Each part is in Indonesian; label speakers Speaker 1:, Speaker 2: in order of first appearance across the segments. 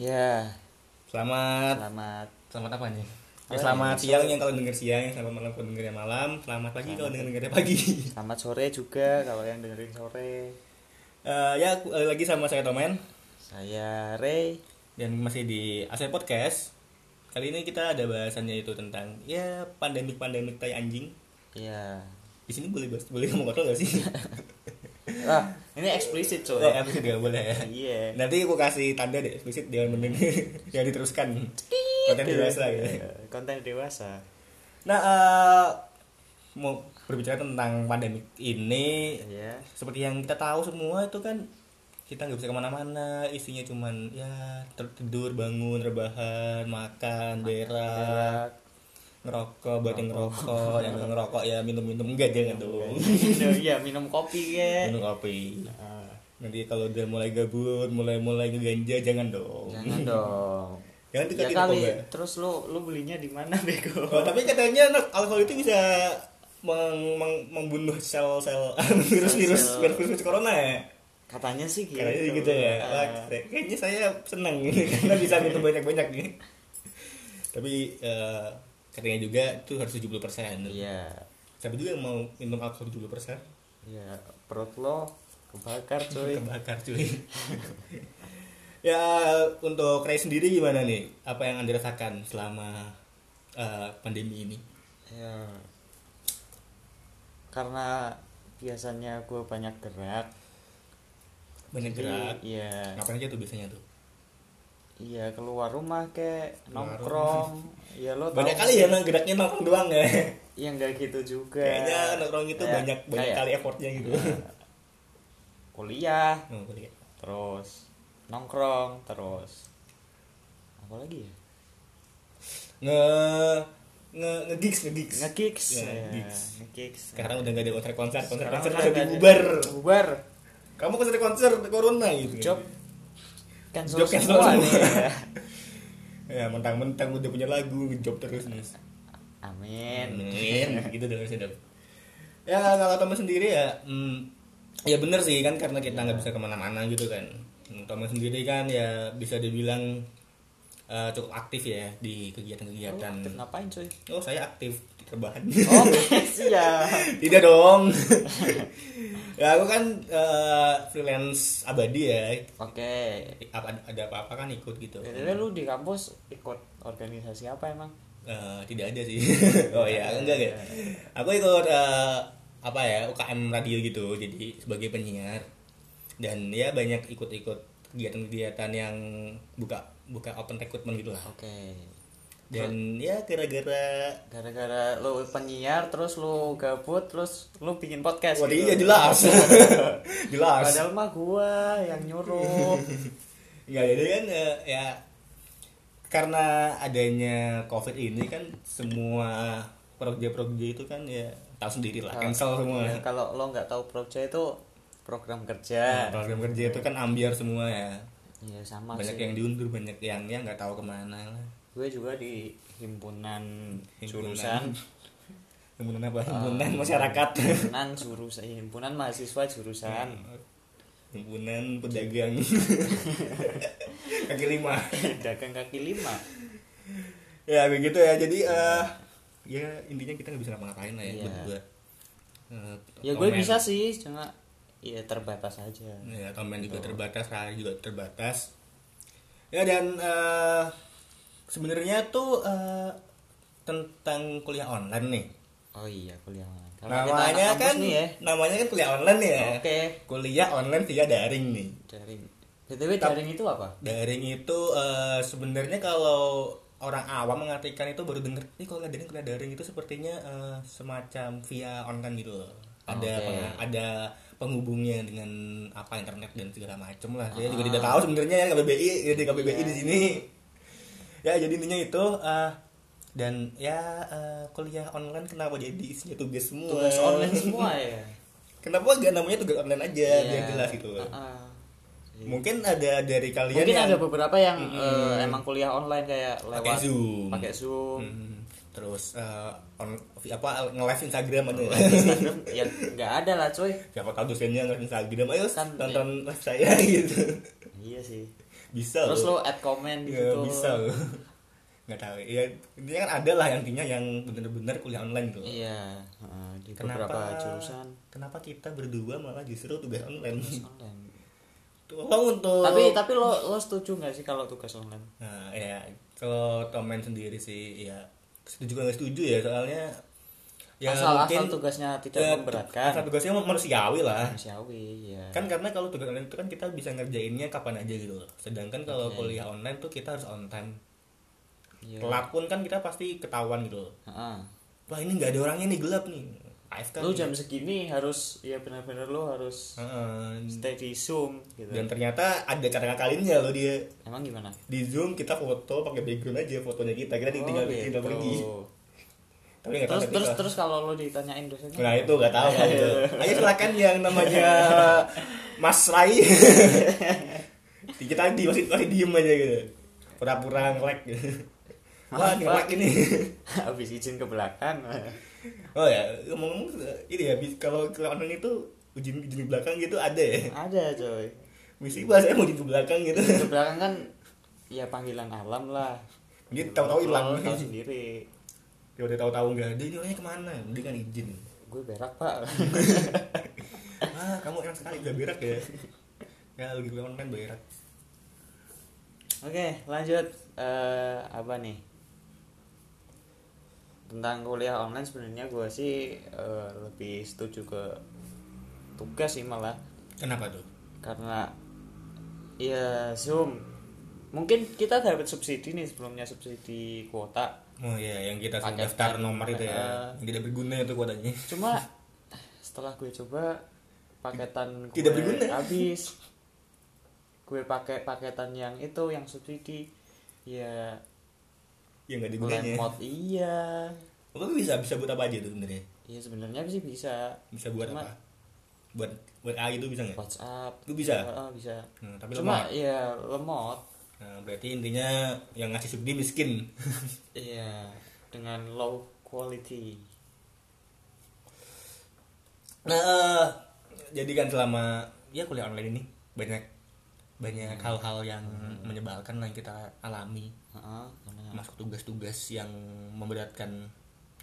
Speaker 1: Ya,
Speaker 2: Selamat
Speaker 1: selamat.
Speaker 3: Selamat apa nih?
Speaker 2: ya, selamat siang yang kalau denger siang, selamat malam kalau dengernya malam, selamat pagi kalau denger dengernya pagi.
Speaker 1: Selamat sore juga kalau yang dengerin sore.
Speaker 2: Eh, ya kembali lagi sama saya Tomen
Speaker 1: Saya Ray.
Speaker 2: dan masih di AC Podcast. Kali ini kita ada bahasannya itu tentang ya pandemik-pandemik tai anjing.
Speaker 1: Ya.
Speaker 2: Di sini boleh bahas, boleh ngomong kotor gak sih?
Speaker 1: Ah, ini eksplisit
Speaker 2: Oh,
Speaker 1: coy.
Speaker 2: eh, episode gak boleh ya.
Speaker 1: Iya.
Speaker 2: Nanti aku kasih tanda deh eksplisit dia mending jangan diteruskan. Konten dewasa gitu.
Speaker 1: Iya, Konten dewasa.
Speaker 2: Nah, eh, mau berbicara tentang pandemik ini
Speaker 1: Iya.
Speaker 2: seperti yang kita tahu semua itu kan kita nggak bisa kemana-mana isinya cuman ya ter- tidur bangun rebahan makan berak ngerokok buat yang ngerokok yang nggak ngerokok ya minum-minum enggak jangan dong
Speaker 1: Minum- Iya, minum kopi ya. Ah.
Speaker 2: minum kopi nanti kalau udah mulai gabut mulai-mulai ngeganja jangan dong Kan
Speaker 1: Jangan dong.
Speaker 2: jangan
Speaker 1: Ya
Speaker 2: deketin
Speaker 1: kali,
Speaker 2: narkoba.
Speaker 1: terus lu lu belinya di mana bego?
Speaker 2: Oh, tapi katanya nak- alkohol itu bisa meng- meng- membunuh sel-sel virus-virus
Speaker 1: Sel-sel.
Speaker 2: virus-virus corona ya.
Speaker 1: Katanya sih gitu.
Speaker 2: Kayaknya gitu ya.
Speaker 1: Ah.
Speaker 2: Wah, kayaknya saya seneng karena bisa minum banyak-banyak nih. Tapi eh, katanya juga itu harus 70%.
Speaker 1: Iya.
Speaker 2: Siapa juga yang mau minum alkohol 70%?
Speaker 1: Iya, perut lo kebakar coy.
Speaker 2: Kebakar cuy. ya untuk Ray sendiri gimana nih? Apa yang Anda rasakan selama eh, pandemi ini?
Speaker 1: ya karena biasanya gue banyak gerak
Speaker 2: Banyak gerak.
Speaker 1: iya
Speaker 2: Ngapain aja tuh biasanya tuh?
Speaker 1: iya keluar rumah kek
Speaker 2: Keluar
Speaker 1: nongkrong ya lo
Speaker 2: Banyak
Speaker 1: tau-
Speaker 2: kali ya nang geraknya nongkrong doang ya.
Speaker 1: ya nggak gitu juga
Speaker 2: Kayaknya nongkrong itu
Speaker 1: Kayak-
Speaker 2: banyak banyak
Speaker 1: kayak
Speaker 2: kali effortnya gitu.
Speaker 1: Iya. kuliah
Speaker 2: Oh, kuliah.
Speaker 1: terus nongkrong terus apa lagi ya
Speaker 2: Nge nge nge gigs nge gigs.
Speaker 1: ngekicks
Speaker 2: Ya,
Speaker 1: ya,
Speaker 2: gigs.
Speaker 1: ngekicks
Speaker 2: Sekarang udah gak ada konser konser konser
Speaker 1: Sekarang
Speaker 2: konser
Speaker 1: kan
Speaker 2: udah
Speaker 1: nggak ada-
Speaker 2: bubar.
Speaker 1: bubar
Speaker 2: Kamu konser konser corona gitu.
Speaker 1: job cancel
Speaker 2: Job cancel
Speaker 1: semua Iya.
Speaker 2: semua.
Speaker 1: nih ya.
Speaker 2: Ya mentang-mentang udah punya lagu job terus nih.
Speaker 1: amin
Speaker 2: gitu dong harusnya dong. Ya kalau teman sendiri ya, hmm, ya bener sih kan karena kita nggak bisa kemana-mana gitu kan. Hmm, Teman sendiri kan ya bisa dibilang eh, cukup aktif ya di
Speaker 1: Lu
Speaker 2: kegiatan-kegiatan.
Speaker 1: aktif ngapain coy
Speaker 2: Oh saya aktif di rebahan.
Speaker 1: oh siap
Speaker 2: Tidak dong. ya aku kan eh, freelance abadi ya.
Speaker 1: Oke.
Speaker 2: Apa- Ada apa-apa kan ikut gitu.
Speaker 1: Btw Ya, lu di kampus ikut organisasi apa emang?
Speaker 2: Eh, tidak ada sih. oh ya enggak enggak. Aku ikut eh, apa ya UKM radio gitu. Jadi sebagai penyiar dan ya banyak ikut-ikut kegiatan-kegiatan yang buka buka open recruitment gitu lah.
Speaker 1: Oke.
Speaker 2: Dan ya gara-gara
Speaker 1: Gara-gara lu penyiar terus lu gabut terus lu bikin podcast.
Speaker 2: Wah,
Speaker 1: gitu.
Speaker 2: iya jelas. jelas.
Speaker 1: Padahal mah gua yang nyuruh.
Speaker 2: Enggak, jadi kan eh, ya karena adanya covid ini kan semua proyek-proyek itu kan ya tahu sendiri lah cancel semua
Speaker 1: Ya, kalau lo nggak tahu proja itu program kerja.
Speaker 2: Nah, program kerja itu kan ambiar semua ya
Speaker 1: Iya sama
Speaker 2: banyak
Speaker 1: sih.
Speaker 2: yang diundur banyak yang yang nggak tahu kemana lah
Speaker 1: Gue juga di himpunan,
Speaker 2: Himpunan.
Speaker 1: jurusan, Eh,
Speaker 2: himpunan
Speaker 1: Ah.
Speaker 2: apa himpunan masyarakat
Speaker 1: himpunan jurusan, himpunan mahasiswa jurusan
Speaker 2: himpunan pedagang kaki lima
Speaker 1: dagang kaki lima.
Speaker 2: ya begitu ya jadi eh, ya intinya kita nggak bisa ngapa-ngapain lah ya
Speaker 1: Iya.
Speaker 2: berdua Eh,
Speaker 1: Ya gue
Speaker 2: komen.
Speaker 1: bisa sih cuma ya terbatas aja.
Speaker 2: ya komen juga terbatas Rai juga terbatas ya dan eh, sebenarnya tuh eh, tentang kuliah online nih
Speaker 1: Oh iya kuliah online. Karena kita
Speaker 2: namanya
Speaker 1: anak kampus
Speaker 2: kan
Speaker 1: nih ya.
Speaker 2: namanya kan kuliah online ya
Speaker 1: Oke.
Speaker 2: kuliah online via daring nih
Speaker 1: Daring. BTW daring itu apa?
Speaker 2: daring itu eh, sebenarnya kalau orang awam mengartikan itu baru denger nih kalau daring kuliah daring itu sepertinya eh, semacam via online gitu loh ada
Speaker 1: Oke.
Speaker 2: peng- ada penghubungnya dengan apa internet dan segala macem lah saya
Speaker 1: Ah.
Speaker 2: juga tidak tahu sebenarnya ya KBBI jadi KBBI
Speaker 1: Iya.
Speaker 2: di sini ya jadi intinya itu eh, dan ya eh, kuliah online kenapa jadi isinya tugas semua
Speaker 1: Tugas online semua ya.
Speaker 2: kenapa gak namanya tugas online aja
Speaker 1: Iya.
Speaker 2: biar jelas Iya, gitu loh.
Speaker 1: Ah, ah.
Speaker 2: mungkin ada dari kalian
Speaker 1: Mungkin
Speaker 2: yang
Speaker 1: ada beberapa yang eh, emang kuliah online kayak lewat
Speaker 2: Pakai Zoom.
Speaker 1: pakai Zoom.
Speaker 2: Hmm. terus eh, on apa nge-live Instagram aja
Speaker 1: Instagram ya nggak ada lah cuy
Speaker 2: siapa tahu dosennya nge-live Instagram ayo
Speaker 1: Kan,
Speaker 2: tonton live saya gitu
Speaker 1: iya sih
Speaker 2: bisa
Speaker 1: terus lu
Speaker 2: loh.
Speaker 1: add comment di situ
Speaker 2: ya, Iya. bisa loh nggak tahu ya intinya kan ada lah yang- intinya yang bener-bener kuliah online gitu loh.
Speaker 1: iya heeh, di
Speaker 2: Kenapa-
Speaker 1: beberapa jurusan
Speaker 2: kenapa kita berdua malah justru tugas online
Speaker 1: tugas online
Speaker 2: tolong untuk
Speaker 1: tapi tapi lo lo setuju nggak sih kalau tugas online
Speaker 2: Nah, ya kalau Tomen sendiri sih ya setuju juga nggak setuju ya soalnya ya
Speaker 1: asal asal
Speaker 2: mungkin
Speaker 1: tugasnya tidak
Speaker 2: ya,
Speaker 1: memberatkan
Speaker 2: asal tugasnya manusiawi lah
Speaker 1: manusiawi ya
Speaker 2: kan karena kalau tugas online itu kan kita bisa ngerjainnya kapan aja gitu loh sedangkan kalau kuliah online tuh kita harus on time
Speaker 1: Iya.
Speaker 2: telat pun kan kita pasti ketahuan gitu loh
Speaker 1: Heeh.
Speaker 2: wah ini nggak ada orangnya nih gelap nih kan. AFK
Speaker 1: lu
Speaker 2: nih.
Speaker 1: jam segini harus ya benar-benar lu harus
Speaker 2: Heeh.
Speaker 1: stay di zoom gitu
Speaker 2: Hmm. dan ternyata ada cara ngakalinnya loh dia
Speaker 1: emang gimana
Speaker 2: di zoom kita foto pakai background aja fotonya kita kita
Speaker 1: Oh,
Speaker 2: tinggal tinggal
Speaker 1: gitu.
Speaker 2: pergi tapi nggak tahu
Speaker 1: terus
Speaker 2: nanti
Speaker 1: terus
Speaker 2: lah.
Speaker 1: terus kalau lo ditanyain dosennya
Speaker 2: Nah itu gak tahu kan itu. Ayo silakan yang namanya Mas Rai. Kita di masih masih diem aja gitu. Pura-pura ngelek. Gitu. Wah
Speaker 1: Maaf,
Speaker 2: ngelek ini.
Speaker 1: habis izin ke belakang
Speaker 2: Oh ya ngomong-ngomong ini ya bis- kalau kalau online itu ujung ujung ke belakang gitu ada ya.
Speaker 1: ada coy
Speaker 2: Misi bahasanya mau ujung ke belakang gitu.
Speaker 1: ke belakang kan ya panggilan alam lah
Speaker 2: Dia tahu-tahu Gitu,
Speaker 1: Lo
Speaker 2: hilang.
Speaker 1: tahu sendiri
Speaker 2: Dia Ya udah tahu-tahu nggak ada. Ini orangnya kemana? Dia kan izin.
Speaker 1: gue berak pak
Speaker 2: Ah kamu enak sekali gak berak ya. Ya lagi gue online berak.
Speaker 1: oke lanjut Eh, apa nih tentang kuliah online sebenarnya gue sih eh, lebih setuju ke tugas sih malah
Speaker 2: Kenapa tuh?
Speaker 1: karena ya zoom mungkin kita dapat subsidi nih sebelumnya subsidi kuota
Speaker 2: Oh iya, yang kita sudah
Speaker 1: Paket
Speaker 2: daftar
Speaker 1: kan.
Speaker 2: nomor itu ya.
Speaker 1: Heeh.
Speaker 2: Yang tidak berguna itu kuotanya.
Speaker 1: cuma setelah gue coba paketan gue
Speaker 2: Tidak berguna.
Speaker 1: habis gue pakai paketan yang itu yang subsidi ya
Speaker 2: Ya enggak ada gunanya.
Speaker 1: lemot iya
Speaker 2: Apa bisa bisa buat apa aja tuh sebenarnya?
Speaker 1: ya sebenarnya sih bisa
Speaker 2: Bisa buat
Speaker 1: Cuma-
Speaker 2: apa? Buat buat AI itu bisa nggak?
Speaker 1: WhatsApp
Speaker 2: Itu bisa?
Speaker 1: Heeh, bisa
Speaker 2: Nah, tapi
Speaker 1: cuma
Speaker 2: lemot.
Speaker 1: ya lemot
Speaker 2: Nah, berarti intinya yang ngasih subsidi miskin.
Speaker 1: iya dengan low quality
Speaker 2: nah, eh, jadi kan selama ya kuliah online ini banyak banyak
Speaker 1: Hmm.
Speaker 2: hal-hal yang menyebalkan lah yang kita alami.
Speaker 1: Heeh, karena-
Speaker 2: Masuk tugas-tugas yang memberatkan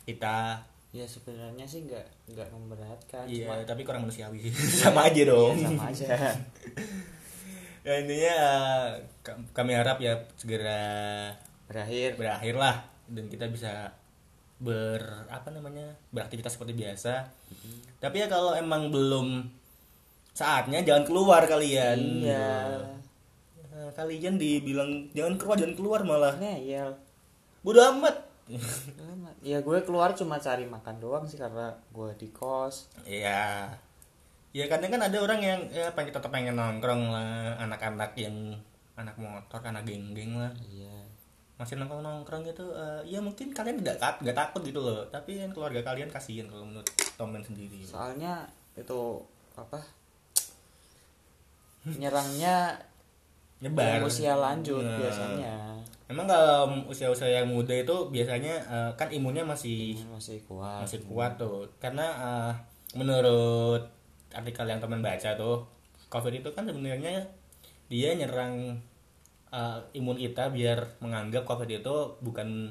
Speaker 2: kita.
Speaker 1: ya sebenarnya sih nggak nggak memberatkan
Speaker 2: Iya,
Speaker 1: cuma
Speaker 2: tapi kurang manusiawi. sama aja dong.
Speaker 1: ya sama aja
Speaker 2: ya intinya eh, ka- kami harap ya segera
Speaker 1: berakhir
Speaker 2: berakhir lah dan kita bisa ber apa namanya beraktivitas seperti biasa tapi ya kalau emang belum saatnya jangan keluar kalian
Speaker 1: iya
Speaker 2: Nah, kalian dibilang jangan keluar jangan keluar malah
Speaker 1: ngeyel
Speaker 2: bodo amat
Speaker 1: Alamat. Ya iya, gue keluar cuma cari makan doang sih karena gue di kos.
Speaker 2: Iya. Ya kadang kan ada orang yang ya pengen tetap pengen nongkrong lah, anak-anak yang anak motor, anak geng-geng lah.
Speaker 1: Iya.
Speaker 2: Masih nongkrong-nongkrong gitu. eh, ya mungkin kalian nggak tak- nggak takut gitu loh, tapi yang keluarga kalian kasihan kalau menurut Tomen sendiri.
Speaker 1: Soalnya itu apa? Nyerangnya
Speaker 2: Nyebar.
Speaker 1: yang usia lanjut
Speaker 2: Nah.
Speaker 1: biasanya.
Speaker 2: Emang kalau usia-usia yang muda itu biasanya eh, kan imunnya masih
Speaker 1: Masih kuat.
Speaker 2: masih kuat tuh. Karena eh, menurut artikel yang teman baca tuh, COVID itu kan sebenarnya dia nyerang eh, imun kita biar menganggap COVID itu bukan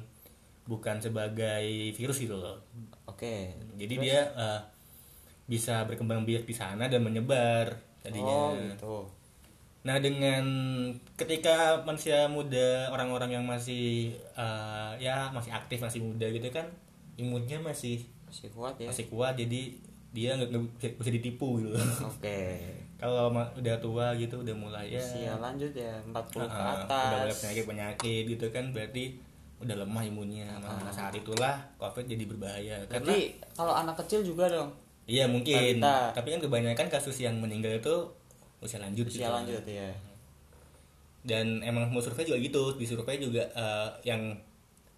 Speaker 2: bukan sebagai virus gitu loh.
Speaker 1: Oke.
Speaker 2: Jadi dia eh, bisa berkembang biak di sana dan menyebar
Speaker 1: Oh
Speaker 2: tadinya.
Speaker 1: gitu.
Speaker 2: Nah dengan ketika manusia muda orang-orang yang masih eh, ya masih aktif masih muda gitu kan imunnya masih
Speaker 1: Masih kuat ya.
Speaker 2: masih kuat jadi dia nggak nggak bisa, bisa ditipu gitu
Speaker 1: Oke.
Speaker 2: kalau ma- udah tua gitu udah mulai ya
Speaker 1: Usia lanjut ya 40 ke
Speaker 2: ah,
Speaker 1: atas.
Speaker 2: udah mulai penyakit penyakit gitu kan berarti udah lemah imunnya nah,
Speaker 1: Ah.
Speaker 2: saat itulah covid jadi berbahaya karena
Speaker 1: Berarti kalau anak kecil juga dong
Speaker 2: iya mungkin
Speaker 1: Balita.
Speaker 2: tapi kan kebanyakan kasus yang meninggal itu usia lanjut
Speaker 1: usia
Speaker 2: gitu.
Speaker 1: lanjut ya.
Speaker 2: dan emang mau survei juga gitu di survei juga eh, yang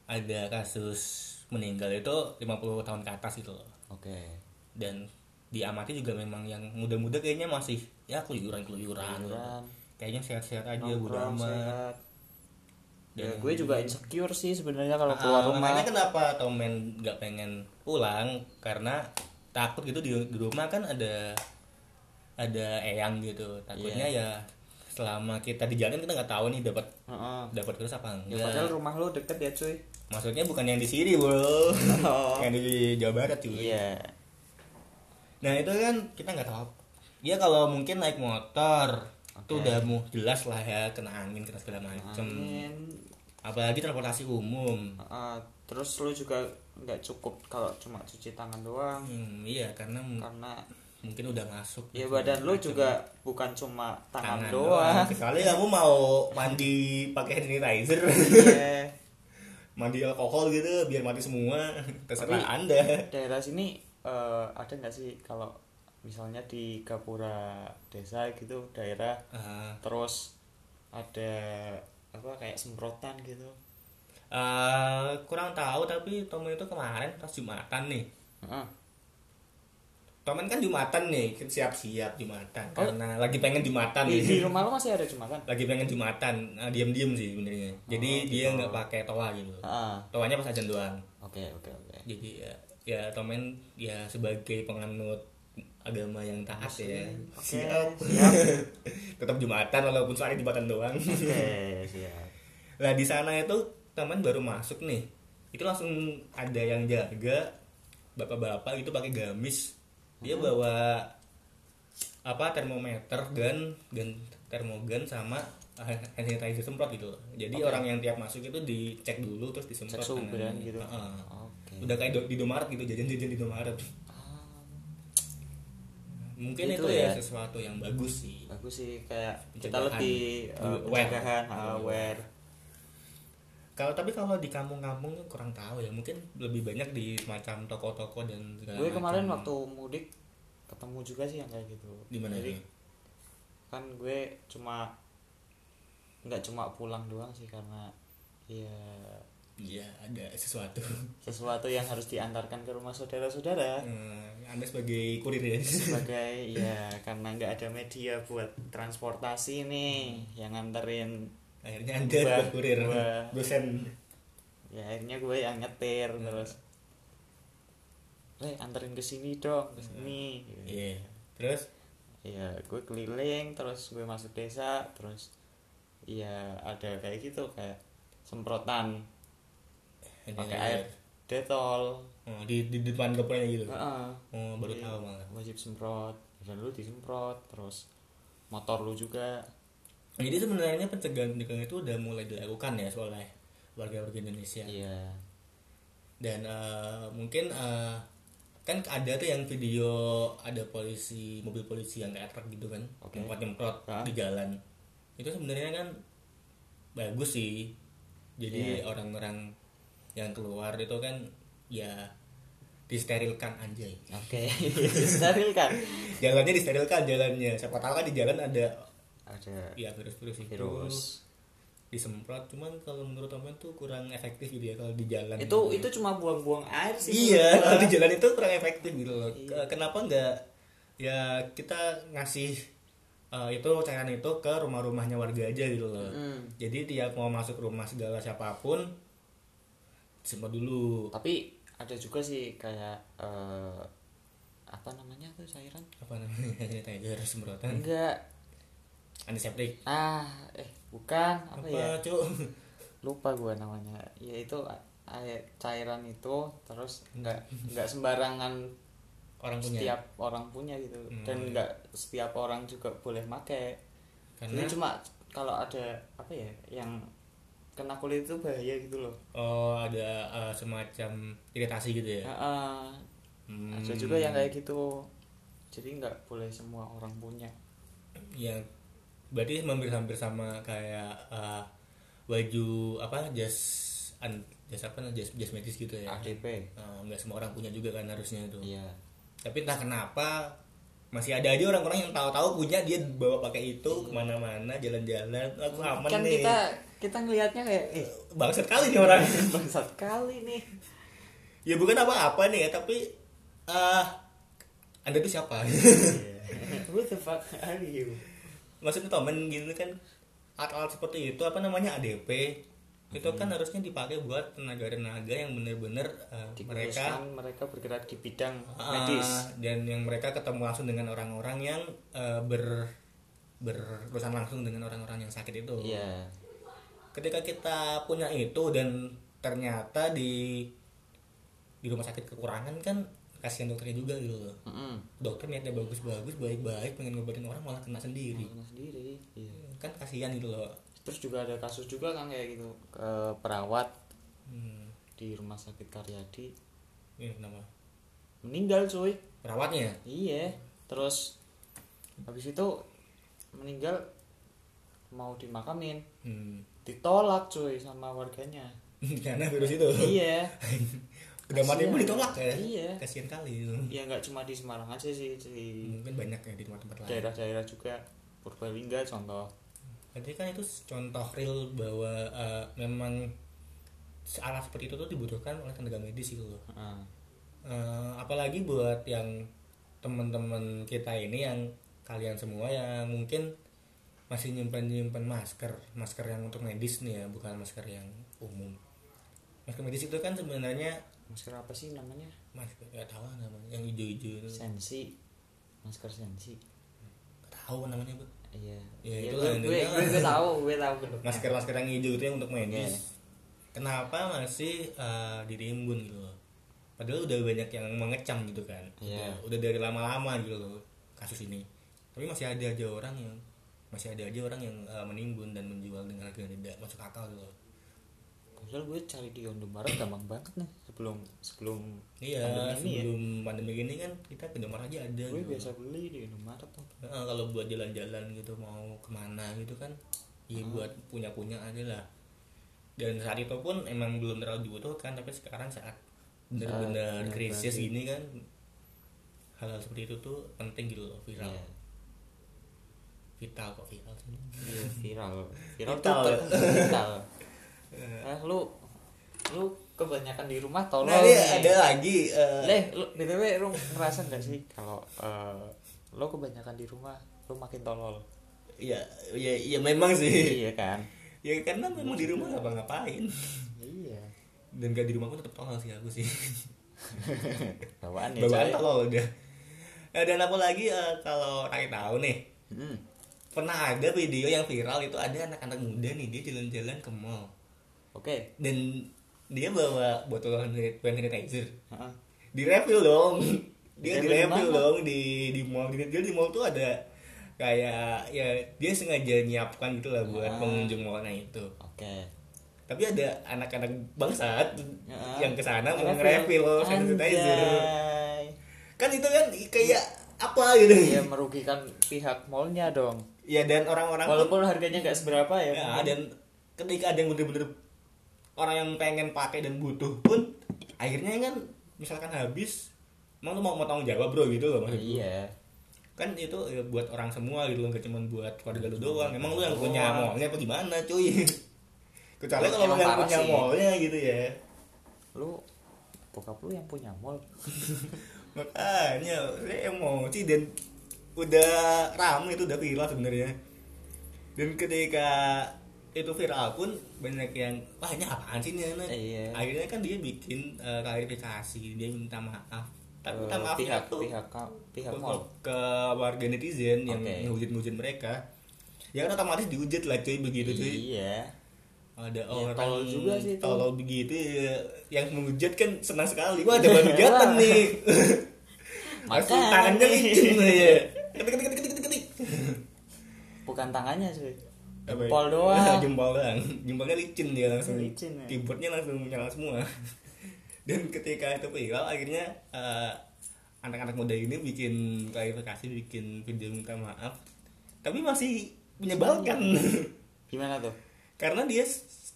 Speaker 2: ada kasus meninggal itu 50 tahun ke atas gitu loh
Speaker 1: Oke.
Speaker 2: dan diamati juga memang yang muda-muda kayaknya masih ya keluyuran keluyuran
Speaker 1: Keluyuran.
Speaker 2: kayaknya sehat-sehat aja bodo
Speaker 1: Nongkrong
Speaker 2: amat
Speaker 1: sehat.
Speaker 2: dan
Speaker 1: ya gue juga insecure sih sebenarnya kalau
Speaker 2: Ah,
Speaker 1: keluar rumah
Speaker 2: makanya kenapa Tomen nggak pengen pulang karena takut gitu di, di rumah kan ada ada eyang gitu takutnya
Speaker 1: Iya.
Speaker 2: ya selama kita di jalan kita nggak tahu nih dapat
Speaker 1: Heeh.
Speaker 2: dapat virus apa
Speaker 1: ya
Speaker 2: enggak
Speaker 1: padahal rumah lu deket ya cuy
Speaker 2: maksudnya bukan yang di sini bro
Speaker 1: Oh.
Speaker 2: yang di Jawa Barat cuy
Speaker 1: iya
Speaker 2: nah itu kan kita nggak tahu dia kalau mungkin naik motor itu
Speaker 1: Oke.
Speaker 2: udah mau jelas lah ya kena angin kena segala macem
Speaker 1: Angin,
Speaker 2: apalagi transportasi umum
Speaker 1: Heeh. terus lu juga nggak cukup kalau cuma cuci tangan doang
Speaker 2: Hmm, iya karena m-
Speaker 1: karena
Speaker 2: mungkin udah masuk
Speaker 1: ya badan lu juga bukan cuma tangan,
Speaker 2: tangan doang
Speaker 1: doang,
Speaker 2: kecuali kamu mau mandi pakai hand sanitizer
Speaker 1: Iya.
Speaker 2: mandi alkohol gitu biar mati semua terserah anda
Speaker 1: daerah sini eh, ada nggak sih kalau misalnya di gapura desa gitu daerah
Speaker 2: Ah,
Speaker 1: terus ada apa kayak semprotan gitu
Speaker 2: ah, kurang tahu tapi Tomen itu kemarin pas jumatan nih
Speaker 1: Heeh.
Speaker 2: Tomen kan jumatan nih siap-siap jumatan
Speaker 1: Oh.
Speaker 2: karena lagi pengen jumatan
Speaker 1: di, di
Speaker 2: nih
Speaker 1: rumah lo masih ada kan? jumatan
Speaker 2: lagi pengen jumatan ah, diam-diam sih sebenarnya jadi
Speaker 1: Oh,
Speaker 2: dia
Speaker 1: gitu.
Speaker 2: nggak pakai toa gitu
Speaker 1: ah
Speaker 2: toanya pas ajan doang
Speaker 1: oke oke oke
Speaker 2: jadi ya, ya Tomen ya sebagai penganut agama yang taat ya
Speaker 1: Oke,
Speaker 2: siap
Speaker 1: siap.
Speaker 2: tetap jumatan walaupun soalnya jumatan doang
Speaker 1: oke siap
Speaker 2: lah di sana itu teman baru masuk nih itu langsung ada yang jaga bapak-bapak itu pakai gamis dia
Speaker 1: Hmm.
Speaker 2: bawa apa termometer dan dan termogan sama ah, hand sanitizer semprot gitu jadi orang yang tiap masuk itu dicek dulu terus
Speaker 1: cek
Speaker 2: disemprot
Speaker 1: suhu
Speaker 2: tangannya.
Speaker 1: beneran gitu
Speaker 2: Heeh.
Speaker 1: oke
Speaker 2: udah kayak do- di Indomaret gitu jajan-jajan di Indomaret
Speaker 1: Ah,
Speaker 2: mungkin itu,
Speaker 1: Itu
Speaker 2: ya
Speaker 1: ya.
Speaker 2: sesuatu yang bagus sih
Speaker 1: bagus sih kayak kita
Speaker 2: Pencegahan.
Speaker 1: lebih eh,
Speaker 2: Aware.
Speaker 1: pencegahan aware
Speaker 2: Kalau tapi kalau di kampung-kampung kurang tahu ya, mungkin lebih banyak di macam toko-toko dan segala
Speaker 1: gue kemarin
Speaker 2: macam.
Speaker 1: waktu mudik ketemu juga sih yang kayak gitu
Speaker 2: gitu. di mana
Speaker 1: Jadi,
Speaker 2: ini?
Speaker 1: kan gue cuma nggak cuma pulang doang sih karena ya
Speaker 2: Iya, ada sesuatu.
Speaker 1: sesuatu yang harus diantarkan ke rumah saudara-saudara
Speaker 2: Eh, anda sebagai kurir ya.
Speaker 1: sebagai ya karena nggak ada media buat transportasi
Speaker 2: Hmm.
Speaker 1: nih yang nganterin
Speaker 2: Akhirnya Anda
Speaker 1: Gua-
Speaker 2: buat kurir.
Speaker 1: gua-
Speaker 2: Dosen.
Speaker 1: ya akhirnya gue yang nyetir
Speaker 2: Nah.
Speaker 1: terus eh anterin ke sini dong ke sini
Speaker 2: Nah.
Speaker 1: gitu.
Speaker 2: Iya. Terus
Speaker 1: ya gue keliling terus gue masuk desa terus ya ada kayak gitu kayak semprotan
Speaker 2: Iya,
Speaker 1: pakai air detol
Speaker 2: Oh, di, di depan kepalanya gitu.
Speaker 1: Heeh.
Speaker 2: Oh, baru
Speaker 1: Iya.
Speaker 2: tahu malah.
Speaker 1: wajib semprot dan lu disemprot terus motor lu juga
Speaker 2: Jadi sebenarnya pencegahan pencegahan itu udah mulai dilakukan ya oleh warga-warga Indonesia.
Speaker 1: iya
Speaker 2: dan eh, mungkin eh, kan ada tuh yang video ada polisi mobil polisi yang kayak truk gitu kan
Speaker 1: Oke.
Speaker 2: nyemprot nyemprot
Speaker 1: Hah?
Speaker 2: di jalan itu sebenarnya kan bagus sih
Speaker 1: Iya.
Speaker 2: jadi orang-orang yang keluar itu kan ya disterilkan anjay
Speaker 1: oke sterilkan
Speaker 2: jalannya disterilkan jalannya siapa tahu kan di jalan ada
Speaker 1: ada
Speaker 2: ya virus-virus itu
Speaker 1: virus
Speaker 2: disemprot cuman kalau menurut teman tuh kurang efektif gitu ya kalau di jalan
Speaker 1: itu itu cuma buang-buang air sih
Speaker 2: Iya,
Speaker 1: menurut
Speaker 2: kalau
Speaker 1: gua.
Speaker 2: di jalan itu kurang efektif gitu loh.
Speaker 1: Iya.
Speaker 2: Kenapa nggak ya kita ngasih eh, itu cairan itu ke rumah-rumahnya warga aja gitu loh.
Speaker 1: Mm.
Speaker 2: Jadi tiap mau masuk rumah segala siapapun semprot dulu
Speaker 1: tapi ada juga sih kayak eh, apa namanya tuh cairan
Speaker 2: apa namanya sanitizer semprotan
Speaker 1: enggak
Speaker 2: antiseptik
Speaker 1: ah eh bukan Hmm. apa,
Speaker 2: apa,
Speaker 1: ya
Speaker 2: Cuk?
Speaker 1: lupa gua namanya ya itu air cairan itu terus enggak enggak sembarangan
Speaker 2: orang punya
Speaker 1: setiap orang punya gitu
Speaker 2: Hmm.
Speaker 1: dan enggak setiap orang juga boleh make
Speaker 2: karena
Speaker 1: ini cuma kalau ada apa ya yang kena kulit itu bahaya gitu loh
Speaker 2: oh ada eh, semacam iritasi gitu ya.
Speaker 1: Heeh.
Speaker 2: Hmm,
Speaker 1: ada juga yang kayak gitu jadi nggak boleh semua orang punya
Speaker 2: yang Ya, berarti hampir-hampir sama kayak eh, baju apa jas an, jas apa jas jas medis gitu ya
Speaker 1: ADP
Speaker 2: Eh, nggak semua orang punya juga kan harusnya itu
Speaker 1: iya
Speaker 2: tapi entah kenapa masih ada aja orang-orang yang tahu-tahu punya dia bawa pakai itu kemana-mana jalan-jalan aku
Speaker 1: Iya.
Speaker 2: aman
Speaker 1: kan
Speaker 2: nih
Speaker 1: kita kita ngelihatnya kayak eh
Speaker 2: bangsat kali nih orang
Speaker 1: bangsat kali nih
Speaker 2: ya bukan apa-apa nih ya tapi eh anda tuh siapa Iya.
Speaker 1: Who the fuck are you?
Speaker 2: gitu maksudnya temen gitu kan alat-alat seperti itu apa namanya ADP itu kan
Speaker 1: Hmm.
Speaker 2: harusnya dipakai buat tenaga-tenaga yang benar-benar eh, mereka
Speaker 1: Dikhususkan mereka bergerak di bidang
Speaker 2: Ah,
Speaker 1: medis
Speaker 2: dan yang mereka ketemu langsung dengan orang-orang yang eh, ber berurusan langsung dengan orang-orang yang sakit itu.
Speaker 1: iya
Speaker 2: Ketika kita punya itu dan ternyata di di rumah sakit kekurangan kan kasihan dokternya juga gitu loh.
Speaker 1: Mm-mm.
Speaker 2: Dokter niatnya bagus-bagus, baik-baik pengen ngobatin orang malah kena sendiri.
Speaker 1: Karena sendiri iya.
Speaker 2: Kan kasihan gitu loh.
Speaker 1: terus juga ada kasus juga kan kayak gitu ke perawat
Speaker 2: Hmm,
Speaker 1: di rumah sakit Karyadi
Speaker 2: ini kenapa?
Speaker 1: meninggal cuy
Speaker 2: Eh, Perawatnya.
Speaker 1: iya terus habis itu meninggal mau dimakamin
Speaker 2: Hmm.
Speaker 1: ditolak cuy sama warganya
Speaker 2: Karena virus itu.
Speaker 1: iya
Speaker 2: Udah mati
Speaker 1: Kasihan.
Speaker 2: pun ditolak ya.
Speaker 1: Iya.
Speaker 2: Kasihan kali. itu.
Speaker 1: ya nggak cuma di Semarang aja sih di
Speaker 2: Mungkin banyak ya di tempat-tempat lain.
Speaker 1: daerah-daerah juga Purbalingga contoh
Speaker 2: Berarti kan itu contoh real bahwa eh, memang alat seperti itu tuh dibutuhkan oleh tenaga medis gitu loh.
Speaker 1: Heeh.
Speaker 2: Eh, apalagi buat yang teman-teman kita ini yang kalian semua yang mungkin masih nyimpen nyimpen masker, masker yang untuk medis nih ya, bukan masker yang umum. Masker medis itu kan sebenarnya
Speaker 1: masker apa sih namanya
Speaker 2: masker nggak tahu lah namanya, yang hijau-hijau itu.
Speaker 1: sensi masker sensi
Speaker 2: Nggak tahu namanya bu.
Speaker 1: iya
Speaker 2: Ya,
Speaker 1: Iya,
Speaker 2: itu
Speaker 1: gue,
Speaker 2: lah
Speaker 1: gue,
Speaker 2: intinya.
Speaker 1: gue, gue tahu gue tahu
Speaker 2: Masker-masker yang hijau itu yang untuk medis.
Speaker 1: Iya.
Speaker 2: Kenapa masih eh, ditimbun gitu loh? Padahal udah banyak yang mengecam gitu kan.
Speaker 1: Iya.
Speaker 2: Udah, udah dari lama-lama gitu loh kasus ini. Tapi masih ada aja orang yang masih ada aja orang yang eh, menimbun dan menjual dengan harga tidak masuk akal gitu loh.
Speaker 1: Padahal gue cari di Ondo Barat gampang banget nih sebelum sebelum
Speaker 2: Iya,
Speaker 1: pandemi ya.
Speaker 2: sebelum pandemi gini kan kita ke Indomaret aja ada.
Speaker 1: Gue
Speaker 2: gitu loh.
Speaker 1: biasa beli di Ondo Barat tuh.
Speaker 2: Heeh, kalau buat jalan-jalan gitu mau kemana gitu kan ya buat punya-punya aja lah dan saat itu pun emang belum terlalu dibutuhkan tapi sekarang saat bener-bener
Speaker 1: bener
Speaker 2: krisis
Speaker 1: banget.
Speaker 2: gini kan hal-hal seperti itu tuh penting gitu loh viral
Speaker 1: Iya.
Speaker 2: vital kok viral sih
Speaker 1: Iya, viral. Viral tuh
Speaker 2: Vital. ya.
Speaker 1: ter- viral. Eh, lu lu kebanyakan di rumah tolong.
Speaker 2: Nah, ini
Speaker 1: nih.
Speaker 2: lagi eh,
Speaker 1: Leh, lu BTW lu ngerasa gak sih kalau eh, lu kebanyakan di rumah lu makin tolol.
Speaker 2: ya ya ya memang sih
Speaker 1: iya kan?
Speaker 2: ya karena memang di rumah apa ngapain
Speaker 1: Iya.
Speaker 2: dan gak di rumah aku tetap tolol sih aku sih
Speaker 1: Bawaan ya,
Speaker 2: bawaan
Speaker 1: coy.
Speaker 2: tolol udah Eh, dan apa lagi eh, kalau Rai tahu nih
Speaker 1: Hmm.
Speaker 2: pernah ada video yang viral itu ada anak-anak muda nih dia jalan-jalan ke mall
Speaker 1: Oke.
Speaker 2: dan dia bawa botol hand hand sanitizer
Speaker 1: Heeh.
Speaker 2: di refill dong dia di
Speaker 1: Di-refill
Speaker 2: refill
Speaker 1: di mana?
Speaker 2: dong di di mall di, dia di mall tuh ada kayak ya dia sengaja nyiapkan gitu lah buat
Speaker 1: Ah.
Speaker 2: pengunjung mallnya itu
Speaker 1: Oke.
Speaker 2: tapi ada anak-anak bangsat
Speaker 1: Heeh.
Speaker 2: yang kesana mau
Speaker 1: Ah. Refill.
Speaker 2: nge-refill hand sanitizer
Speaker 1: Anjay.
Speaker 2: kan itu kan kayak apa gitu
Speaker 1: ya merugikan pihak mallnya dong
Speaker 2: ya dan orang-orang
Speaker 1: walaupun harganya nggak seberapa ya,
Speaker 2: ya,
Speaker 1: mungkin.
Speaker 2: dan ketika ada yang bener-bener orang yang pengen pakai dan butuh pun akhirnya kan misalkan habis emang lu mau mau tanggung jawab bro gitu loh maksud gue.
Speaker 1: iya
Speaker 2: kan itu ya, buat orang semua gitu loh gak cuma buat keluarga lu doang emang lu yang punya mallnya apa gimana cuy kecuali kalau lu
Speaker 1: Emang
Speaker 2: yang
Speaker 1: parah
Speaker 2: punya
Speaker 1: sih.
Speaker 2: mallnya gitu ya
Speaker 1: lu bokap lu yang punya mall
Speaker 2: makanya saya emosi dan udah ramai itu udah viral sebenarnya dan ketika itu viral pun banyak yang wah ini apaan sih ini anak?"
Speaker 1: Iya.
Speaker 2: akhirnya kan dia bikin eh, klarifikasi dia minta maaf tapi minta
Speaker 1: Eh,
Speaker 2: maafnya
Speaker 1: pihak
Speaker 2: tuh
Speaker 1: pihak ka- pihak
Speaker 2: untuk
Speaker 1: mall
Speaker 2: ke warga netizen yang
Speaker 1: Oke.
Speaker 2: ngehujat-ngehujat mereka ya kan otomatis dihujat lah cuy begitu cuy
Speaker 1: iya
Speaker 2: ada
Speaker 1: Ya,
Speaker 2: orang
Speaker 1: tolol juga sih itu.
Speaker 2: tolol begitu ya. yang menghujat kan senang sekali wah ada baru jatan nih langsung
Speaker 1: Makanya.
Speaker 2: tangannya licin lah ya ketik ketik ketik ketik ketik
Speaker 1: bukan tangannya sih
Speaker 2: Apa ya?
Speaker 1: jempol doang
Speaker 2: jempol doang jempolnya licin dia langsung
Speaker 1: Licin, ya.
Speaker 2: keyboardnya langsung nyala semua dan ketika itu viral akhirnya eh, anak-anak muda ini bikin klarifikasi bikin video minta maaf tapi masih menyebalkan
Speaker 1: gimana tuh
Speaker 2: karena dia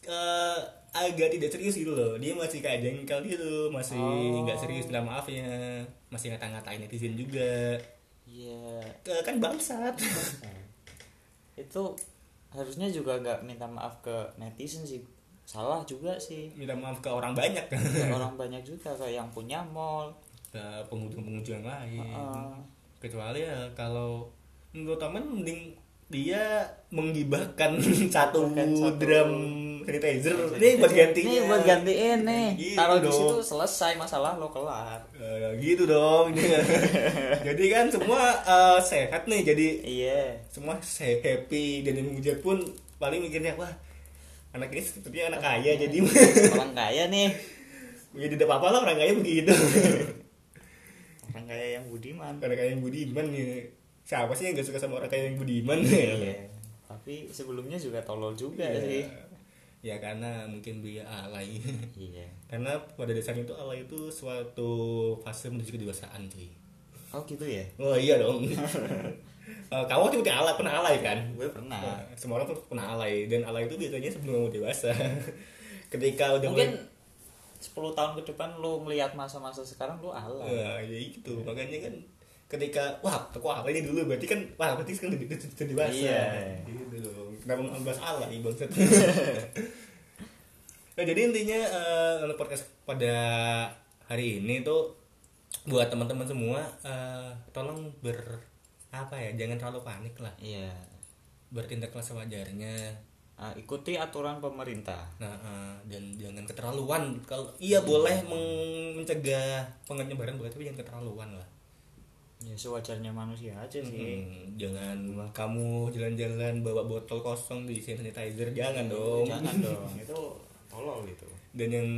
Speaker 2: eh, agak tidak serius gitu loh dia masih kayak jengkel gitu masih
Speaker 1: Oh.
Speaker 2: nggak serius minta maafnya masih ngata-ngatain netizen juga
Speaker 1: iya
Speaker 2: Eh, kan bangsat
Speaker 1: itu harusnya juga nggak minta maaf ke netizen sih salah juga sih
Speaker 2: minta maaf ke orang banyak ke
Speaker 1: Ke orang banyak juga kayak yang punya mall eh,
Speaker 2: pengunjung-pengunjung yang lain
Speaker 1: Heeh.
Speaker 2: kecuali ya kalau menurut temen mending dia menggibahkan satu
Speaker 1: Menggibahkan satu-
Speaker 2: drum sanitizer. Ini buat gantinya.
Speaker 1: Nih buat gantiin nih.
Speaker 2: Gitu
Speaker 1: Taruh di
Speaker 2: dong.
Speaker 1: situ selesai masalah lo kelar.
Speaker 2: Eh, gitu dong. jadi kan semua eh, sehat nih. Jadi
Speaker 1: Iya.
Speaker 2: semua se- happy dan yang menghujat pun paling mikirnya wah anak ini sepertinya anak kaya jadi
Speaker 1: Orang kaya nih.
Speaker 2: ya tidak apa-apa lah orang kaya begitu
Speaker 1: Orang kaya yang budiman.
Speaker 2: orang kaya yang budiman nih siapa sih yang gak suka sama orang kaya yang budiman
Speaker 1: Iya. Tapi sebelumnya juga tolol juga sih.
Speaker 2: Iya. ya karena mungkin dia alay
Speaker 1: Iya.
Speaker 2: karena pada dasarnya itu alay itu suatu fase menuju kedewasaan cuy
Speaker 1: Oh gitu ya.
Speaker 2: oh iya dong Eh, kamu juga pernah alay pernah alay kan
Speaker 1: Gue pernah.
Speaker 2: Nah, semua orang tuh pernah alay dan alay itu biasanya sebelum kamu dewasa ketika udah mulai-
Speaker 1: Mungkin 10 tahun ke depan lo ngelihat masa-masa sekarang lo alay.
Speaker 2: Nah, ya gitu. Makanya kan ketika wah, aku apa ini dulu berarti kan wah, berarti kan lebih lebih- lebih dewasa.
Speaker 1: Iya.
Speaker 2: Gitu loh. Kenapa mau bahas Allah nih bangsat. nah, jadi intinya eh, untuk podcast pada hari ini tuh buat teman-teman semua eh, tolong ber apa ya jangan terlalu panik lah
Speaker 1: Iya.
Speaker 2: bertindaklah sewajarnya
Speaker 1: Ah, ikuti aturan pemerintah.
Speaker 2: Nah, eh, dan jangan keterlaluan. Kalau iya boleh men- mencegah penyebaran boleh tapi jangan keterlaluan lah.
Speaker 1: Ya sewajarnya manusia aja sih.
Speaker 2: Mm, jangan kamu jalan-jalan bawa botol kosong di sanitizer jangan dong.
Speaker 1: Jangan dong. Itu tolol gitu. itu.
Speaker 2: Dan yang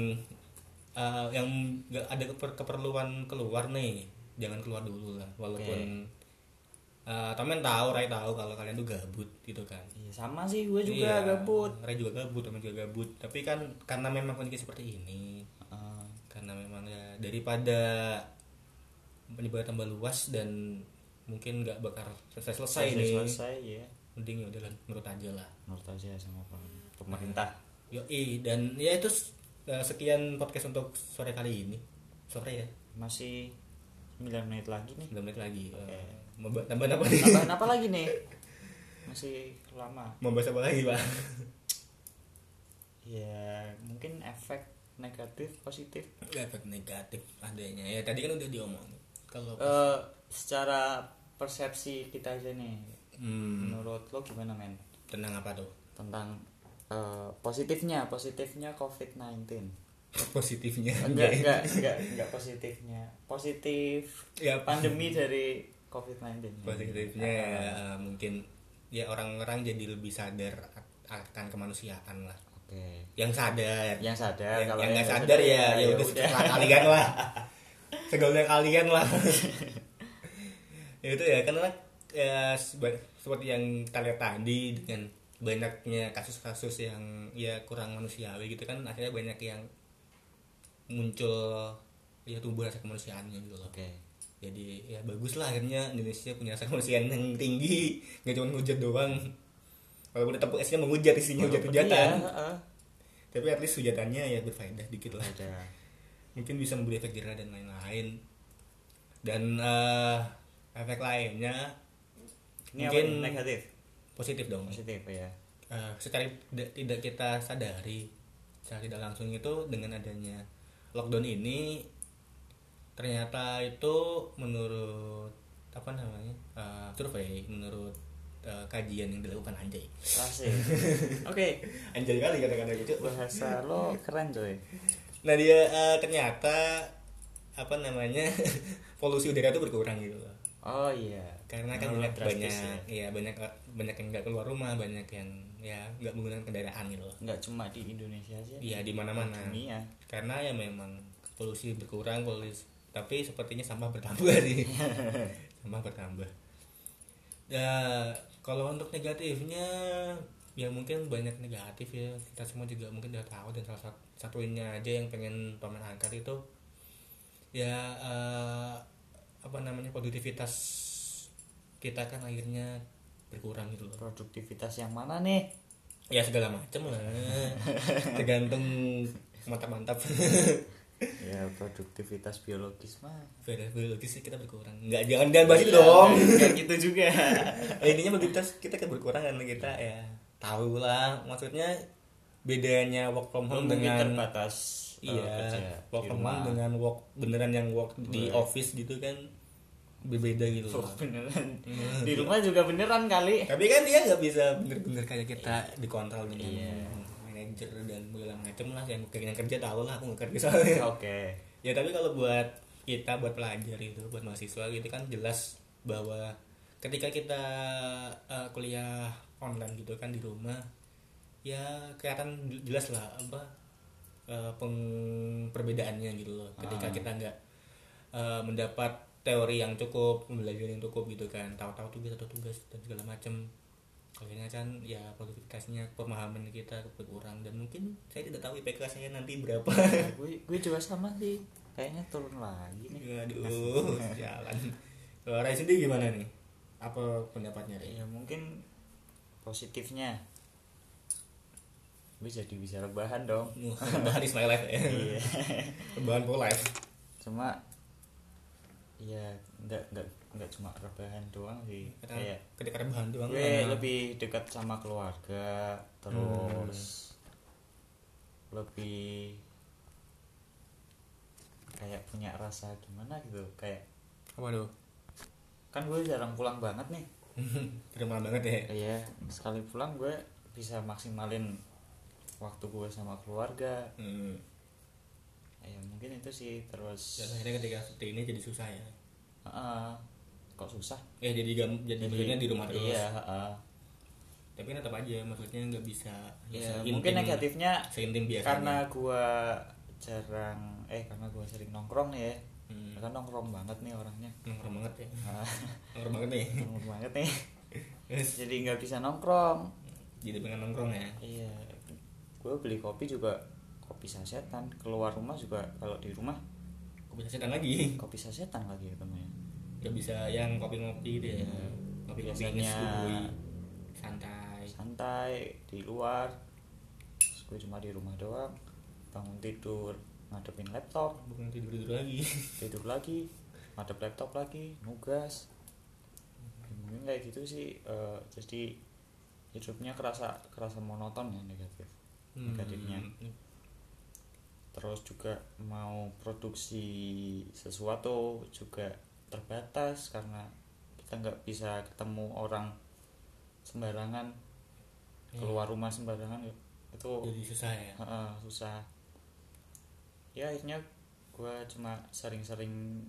Speaker 2: uh, yang nggak ada keper- keperluan keluar nih, jangan keluar dulu lah. Walaupun uh, temen tahu, Ray tahu kalau kalian tuh gabut gitu kan.
Speaker 1: Iya, sama sih gue juga
Speaker 2: Iya,
Speaker 1: gabut.
Speaker 2: Ray juga gabut, temen juga gabut. Tapi kan karena memang kondisi seperti ini,
Speaker 1: Ah,
Speaker 2: karena memang ya daripada menyebar tambah luas dan mungkin nggak bakal selesai selesai
Speaker 1: selesai
Speaker 2: nih
Speaker 1: selesai ya.
Speaker 2: mending ya udahlah menurut aja lah
Speaker 1: Menurut aja sama pem- pemerintah.
Speaker 2: Yoi, dan ya itu s- eh, sekian podcast untuk sore kali ini. Sore ya,
Speaker 1: Masih 9 menit lagi nih.
Speaker 2: 9 menit lagi. Eh,
Speaker 1: Oke.
Speaker 2: mau ba- tambah apa nih?
Speaker 1: Tambahan apa lagi nih? Masih lama.
Speaker 2: Mau bahas apa lagi, Pak?
Speaker 1: Ya, mungkin efek negatif positif
Speaker 2: Efek negatif adanya. Ya tadi kan udah diomong. Kalau
Speaker 1: Eh, secara persepsi kita aja nih.
Speaker 2: hmm,
Speaker 1: Menurut lo gimana, men?
Speaker 2: tenang apa tuh?
Speaker 1: Tentang eh, positifnya, positifnya COVID-19.
Speaker 2: Positifnya.
Speaker 1: Enggak, enggak, enggak, enggak positifnya. Positif
Speaker 2: Ya,
Speaker 1: pandemi dari COVID-19.
Speaker 2: positifnya ya, eh, mungkin ya orang-orang jadi lebih sadar at- akan kemanusiaan lah.
Speaker 1: Oke.
Speaker 2: Yang sadar.
Speaker 1: Yang sadar
Speaker 2: yang
Speaker 1: kalau gitu
Speaker 2: yang nggak
Speaker 1: nggak
Speaker 2: sadar ya ya udah setelah kalian lah segolnya kalian lah ya itu ya karena ya, seba- seperti yang kita lihat tadi dengan banyaknya kasus-kasus yang ya kurang manusiawi gitu kan akhirnya banyak yang muncul ya tumbuh rasa kemanusiaannya gitu loh
Speaker 1: Oke.
Speaker 2: jadi ya bagus lah akhirnya Indonesia punya rasa kemanusiaan yang tinggi nggak cuma ngehujat doang walaupun tetap esnya menghujat isinya hujat-hujatan
Speaker 1: Iya, heeh.
Speaker 2: tapi at least hujatannya ya berfaedah dikit lah
Speaker 1: Ada.
Speaker 2: mungkin bisa memberi efek jerah dan lain-lain dan eh, efek lainnya
Speaker 1: Ini apa
Speaker 2: mungkin
Speaker 1: nih? negatif.
Speaker 2: positif dong
Speaker 1: Positif ya.
Speaker 2: Eh, secara tidak, tidak kita sadari secara tidak langsung itu dengan adanya lockdown ini ternyata itu menurut apa namanya eh, survei menurut eh, kajian yang dilakukan Anjay
Speaker 1: Asik. Oke.
Speaker 2: Anjay kali kata-kata gitu
Speaker 1: Bahasa lo keren coy.
Speaker 2: Nah dia eh, ternyata apa namanya polusi udara itu berkurang gitu loh.
Speaker 1: Oh iya.
Speaker 2: Karena kan
Speaker 1: Oh,
Speaker 2: banyak banyak
Speaker 1: drastis ya.
Speaker 2: ya banyak banyak yang nggak keluar rumah, banyak yang ya nggak menggunakan kendaraan gitu loh.
Speaker 1: Nggak cuma di Indonesia aja.
Speaker 2: Iya di mana-mana.
Speaker 1: Dunia.
Speaker 2: Karena ya memang polusi berkurang polusi tapi sepertinya sampah bertambah sih. sampah bertambah. Ya kalau untuk negatifnya ya mungkin banyak negatif ya kita semua juga mungkin udah tahu dan salah sat- satunya aja yang pengen paman angkat itu ya eh, apa namanya produktivitas kita kan akhirnya berkurang gitu loh
Speaker 1: Produktivitas yang mana nih?
Speaker 2: ya segala macam lah tergantung mantap mantap
Speaker 1: Ya produktivitas biologis mah.
Speaker 2: biologis sih kita berkurang nggak jangan jangan bahas itu
Speaker 1: Iya,
Speaker 2: dong
Speaker 1: Kayak gitu juga.
Speaker 2: ya, intinya produktivitas kita kan berkurang karena kita ya tahu lah maksudnya bedanya work from home
Speaker 1: Mungkin
Speaker 2: dengan
Speaker 1: terbatas eh, kerja
Speaker 2: iya
Speaker 1: di
Speaker 2: work from home
Speaker 1: rumah. Iya.
Speaker 2: dengan work beneran yang work
Speaker 1: Boleh.
Speaker 2: di office gitu kan berbeda gitu
Speaker 1: Tuh,
Speaker 2: loh.
Speaker 1: beneran. Di rumah juga beneran kali.
Speaker 2: tapi kan dia nggak bisa bener-bener kayak kita dikontrol dengan
Speaker 1: Iya.
Speaker 2: yang manajer dan segala macem lah yang mungkin yang kerja tau lah aku nggak kerja soalnya
Speaker 1: oke
Speaker 2: ya tapi kalau buat kita buat pelajar gitu buat mahasiswa gitu kan jelas bahwa ketika kita eh, kuliah online gitu kan di rumah ya kelihatan jelas lah apa eh, peng- perbedaannya gitu loh ketika
Speaker 1: Ah.
Speaker 2: kita nggak eh, mendapat teori yang cukup pembelajaran yang cukup gitu kan tahu-tahu tugas atau tugas dan segala macam akhirnya kan ya produktivitasnya pemahaman kita berkurang dan mungkin saya tidak tahu IPK saya nanti berapa
Speaker 1: gue gue juga sama sih kayaknya turun lagi nih
Speaker 2: Aduh, jalan. Kalau Rai sendiri gimana nih? Apa pendapatnya Rai?
Speaker 1: ya mungkin positifnya gue jadi bisa rebahan dong
Speaker 2: Wah, Bahan is my life ya.
Speaker 1: iya
Speaker 2: Bahan for life.
Speaker 1: cuma ya nggak nggak nggak cuma rebahan doang sih
Speaker 2: Kita
Speaker 1: kayak
Speaker 2: ketika rebahan doang.
Speaker 1: gue
Speaker 2: eh,
Speaker 1: Iya. lebih dekat sama keluarga terus lebih kayak punya rasa gimana gitu kayak
Speaker 2: apa tuh?
Speaker 1: kan gue jarang pulang banget nih
Speaker 2: Terima banget ya.
Speaker 1: iya sekali pulang gue bisa maksimalin waktu gue sama keluarga
Speaker 2: Hmm.
Speaker 1: ya mungkin itu sih terus
Speaker 2: Dan Ya, akhirnya ketika seperti ini jadi susah ya.
Speaker 1: Heeh. kok susah
Speaker 2: Eh jadi gam, jadi maksudnya di rumah terus.
Speaker 1: iya heeh.
Speaker 2: Tapi kan tetap aja maksudnya nggak bisa.
Speaker 1: Iya, mungkin
Speaker 2: bisa Ya, intim-
Speaker 1: negatifnya
Speaker 2: seintim biasanya.
Speaker 1: karena gua jarang eh karena gua sering nongkrong nih ya
Speaker 2: Hmm.
Speaker 1: kan nongkrong banget nih orangnya
Speaker 2: nongkrong banget ya.
Speaker 1: Ah,
Speaker 2: Nongkrong banget nih.
Speaker 1: nongkrong banget nih
Speaker 2: Terus
Speaker 1: jadi nggak bisa nongkrong
Speaker 2: jadi pengen nongkrong ya.
Speaker 1: iya gua beli kopi juga kopi sasetan keluar rumah juga kalau di rumah
Speaker 2: Kok bisa setan lagi?
Speaker 1: kopi sasetan lagi ya, ketemunya
Speaker 2: nggak bisa yang kopi-ngopi deh
Speaker 1: Iya.
Speaker 2: kopi-kopi
Speaker 1: Biasanya-
Speaker 2: ngesui santai
Speaker 1: santai di luar Terus gua cuma di rumah doang bangun tidur ngadepin laptop
Speaker 2: Oh, bukan tidur tidur lagi
Speaker 1: tidur lagi ngadep laptop lagi nugas Ya, mungkin kayak gitu sih eh, jadi hidupnya kerasa kerasa monoton ya negatif negatifnya
Speaker 2: Hmm.
Speaker 1: terus juga mau produksi sesuatu juga terbatas karena kita nggak bisa ketemu orang sembarangan
Speaker 2: Iya.
Speaker 1: keluar rumah sembarangan ya. itu
Speaker 2: jadi susah ya
Speaker 1: Heeh, susah ya akhirnya gue cuma sering-sering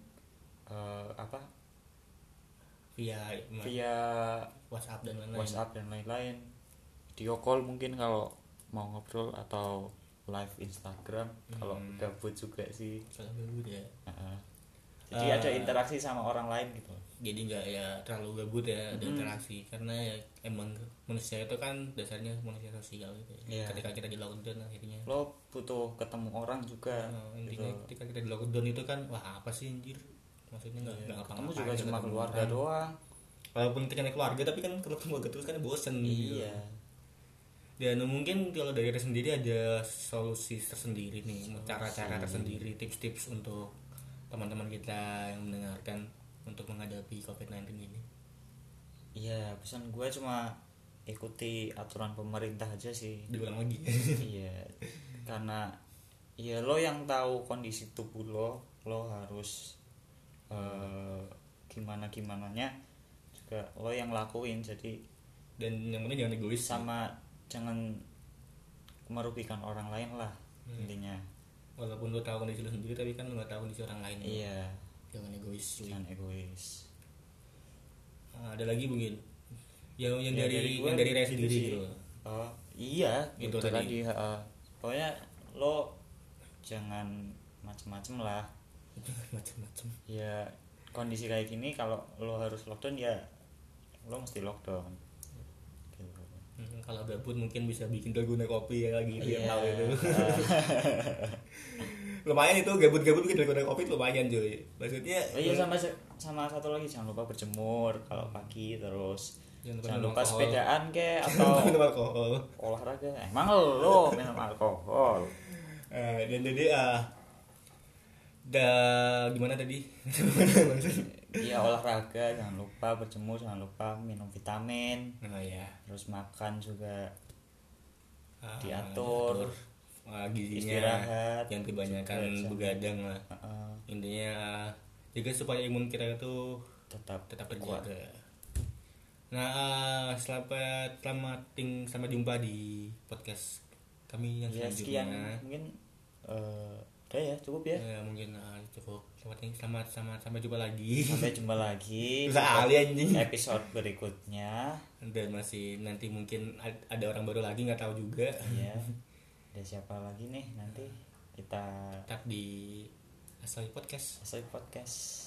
Speaker 1: eh, apa
Speaker 2: via
Speaker 1: via
Speaker 2: WhatsApp dan lain-lain
Speaker 1: WhatsApp dan lain-lain video call mungkin kalau mau ngobrol atau live Instagram kalau
Speaker 2: Hmm.
Speaker 1: gabut juga sih
Speaker 2: Soalnya gabut ya
Speaker 1: Heeh. jadi ada
Speaker 2: Eh.
Speaker 1: interaksi sama orang lain gitu
Speaker 2: jadi nggak ya terlalu gabut ya ada
Speaker 1: Mm-mm.
Speaker 2: interaksi karena ya emang manusia itu kan dasarnya manusia sosial gitu ya.
Speaker 1: Iya.
Speaker 2: ketika kita di lockdown akhirnya
Speaker 1: lo butuh ketemu orang juga
Speaker 2: Nah,
Speaker 1: gitu.
Speaker 2: intinya ketika kita di lockdown itu kan wah apa sih anjir maksudnya nggak
Speaker 1: kamu
Speaker 2: nggak ngapa-ngapain
Speaker 1: Iya. juga
Speaker 2: nggak
Speaker 1: cuma
Speaker 2: ketemu
Speaker 1: keluarga
Speaker 2: orang.
Speaker 1: doang
Speaker 2: walaupun kita kan keluarga tapi kan kalau keluarga terus kan bosen gitu.
Speaker 1: iya
Speaker 2: Dan mungkin kalau dari Ira sendiri ada solusi tersendiri nih, cara-cara tersendiri, tips-tips untuk teman-teman kita yang mendengarkan untuk menghadapi COVID-19 ini.
Speaker 1: iya pesan gue cuma ikuti aturan pemerintah aja sih
Speaker 2: Diulang lagi.
Speaker 1: iya karena ya lo yang tahu kondisi tubuh lo lo harus gimana gimana nya juga lo yang lakuin jadi
Speaker 2: Dan yang penting jangan egois.
Speaker 1: sama jangan merugikan orang lain lah
Speaker 2: Hmm.
Speaker 1: intinya
Speaker 2: Walaupun lo tahu kondisi lo sendiri, tapi kan lo nggak tahu kondisi orang lain.
Speaker 1: iya
Speaker 2: Jangan egois. cuy.
Speaker 1: jangan egois
Speaker 2: Ah, ada lagi mungkin yang yang
Speaker 1: Ya,
Speaker 2: dari,
Speaker 1: gua
Speaker 2: yang dari Ira
Speaker 1: gitu
Speaker 2: sendiri
Speaker 1: sih.
Speaker 2: gitu.
Speaker 1: Oh, iya
Speaker 2: Itu
Speaker 1: itu,
Speaker 2: tadi.
Speaker 1: tadi, heeh. pokoknya lo jangan macem-macem lah
Speaker 2: Macam-macam.
Speaker 1: ya kondisi kayak gini kalau lo harus lockdown ya lo mesti lockdown gitu.
Speaker 2: Hmm, kalau gabut mungkin bisa bikin dalgona kopi ya lagi gitu yang
Speaker 1: Iya.
Speaker 2: tahu itu. lumayan itu gabut-gabut bikin dalgona kopi itu lumayan cuy. Maksudnya
Speaker 1: oh iya sama sama satu lagi jangan lupa berjemur kalau pagi terus
Speaker 2: Jangan
Speaker 1: jangan lupa,
Speaker 2: lupa minum kan alkohol.
Speaker 1: sepedaan ke
Speaker 2: atau
Speaker 1: atau
Speaker 2: minum alkohol.
Speaker 1: olahraga emang lo minum alkohol
Speaker 2: Eh, dan jadi ah da gimana tadi?
Speaker 1: iya olahraga jangan lupa berjemur jangan lupa minum vitamin
Speaker 2: nah ya
Speaker 1: terus makan juga
Speaker 2: Ah,
Speaker 1: Diatur.
Speaker 2: Ah, gizinya
Speaker 1: Istirahat.
Speaker 2: yang kebanyakan
Speaker 1: Juga
Speaker 2: begadang lah
Speaker 1: Heeh,
Speaker 2: intinya ah, jaga supaya imun kita itu
Speaker 1: tetap ya.
Speaker 2: tetap terjaga. ah, Nah, eh, selamat selamat ting selamat jumpa di podcast kami yang
Speaker 1: ya sekian mungkin eh udah ya cukup ya
Speaker 2: Ya, mungkin ah, cukup selamat selamat selamat sampai jumpa lagi
Speaker 1: sampai jumpa lagi
Speaker 2: Bisa
Speaker 1: di
Speaker 2: kali anjing.
Speaker 1: episode berikutnya
Speaker 2: Eh, dan masih nanti mungkin ad- ada orang baru lagi nggak tahu juga
Speaker 1: ya ada siapa lagi nih nanti kita
Speaker 2: tetap di Asli Podcast
Speaker 1: Asik podcast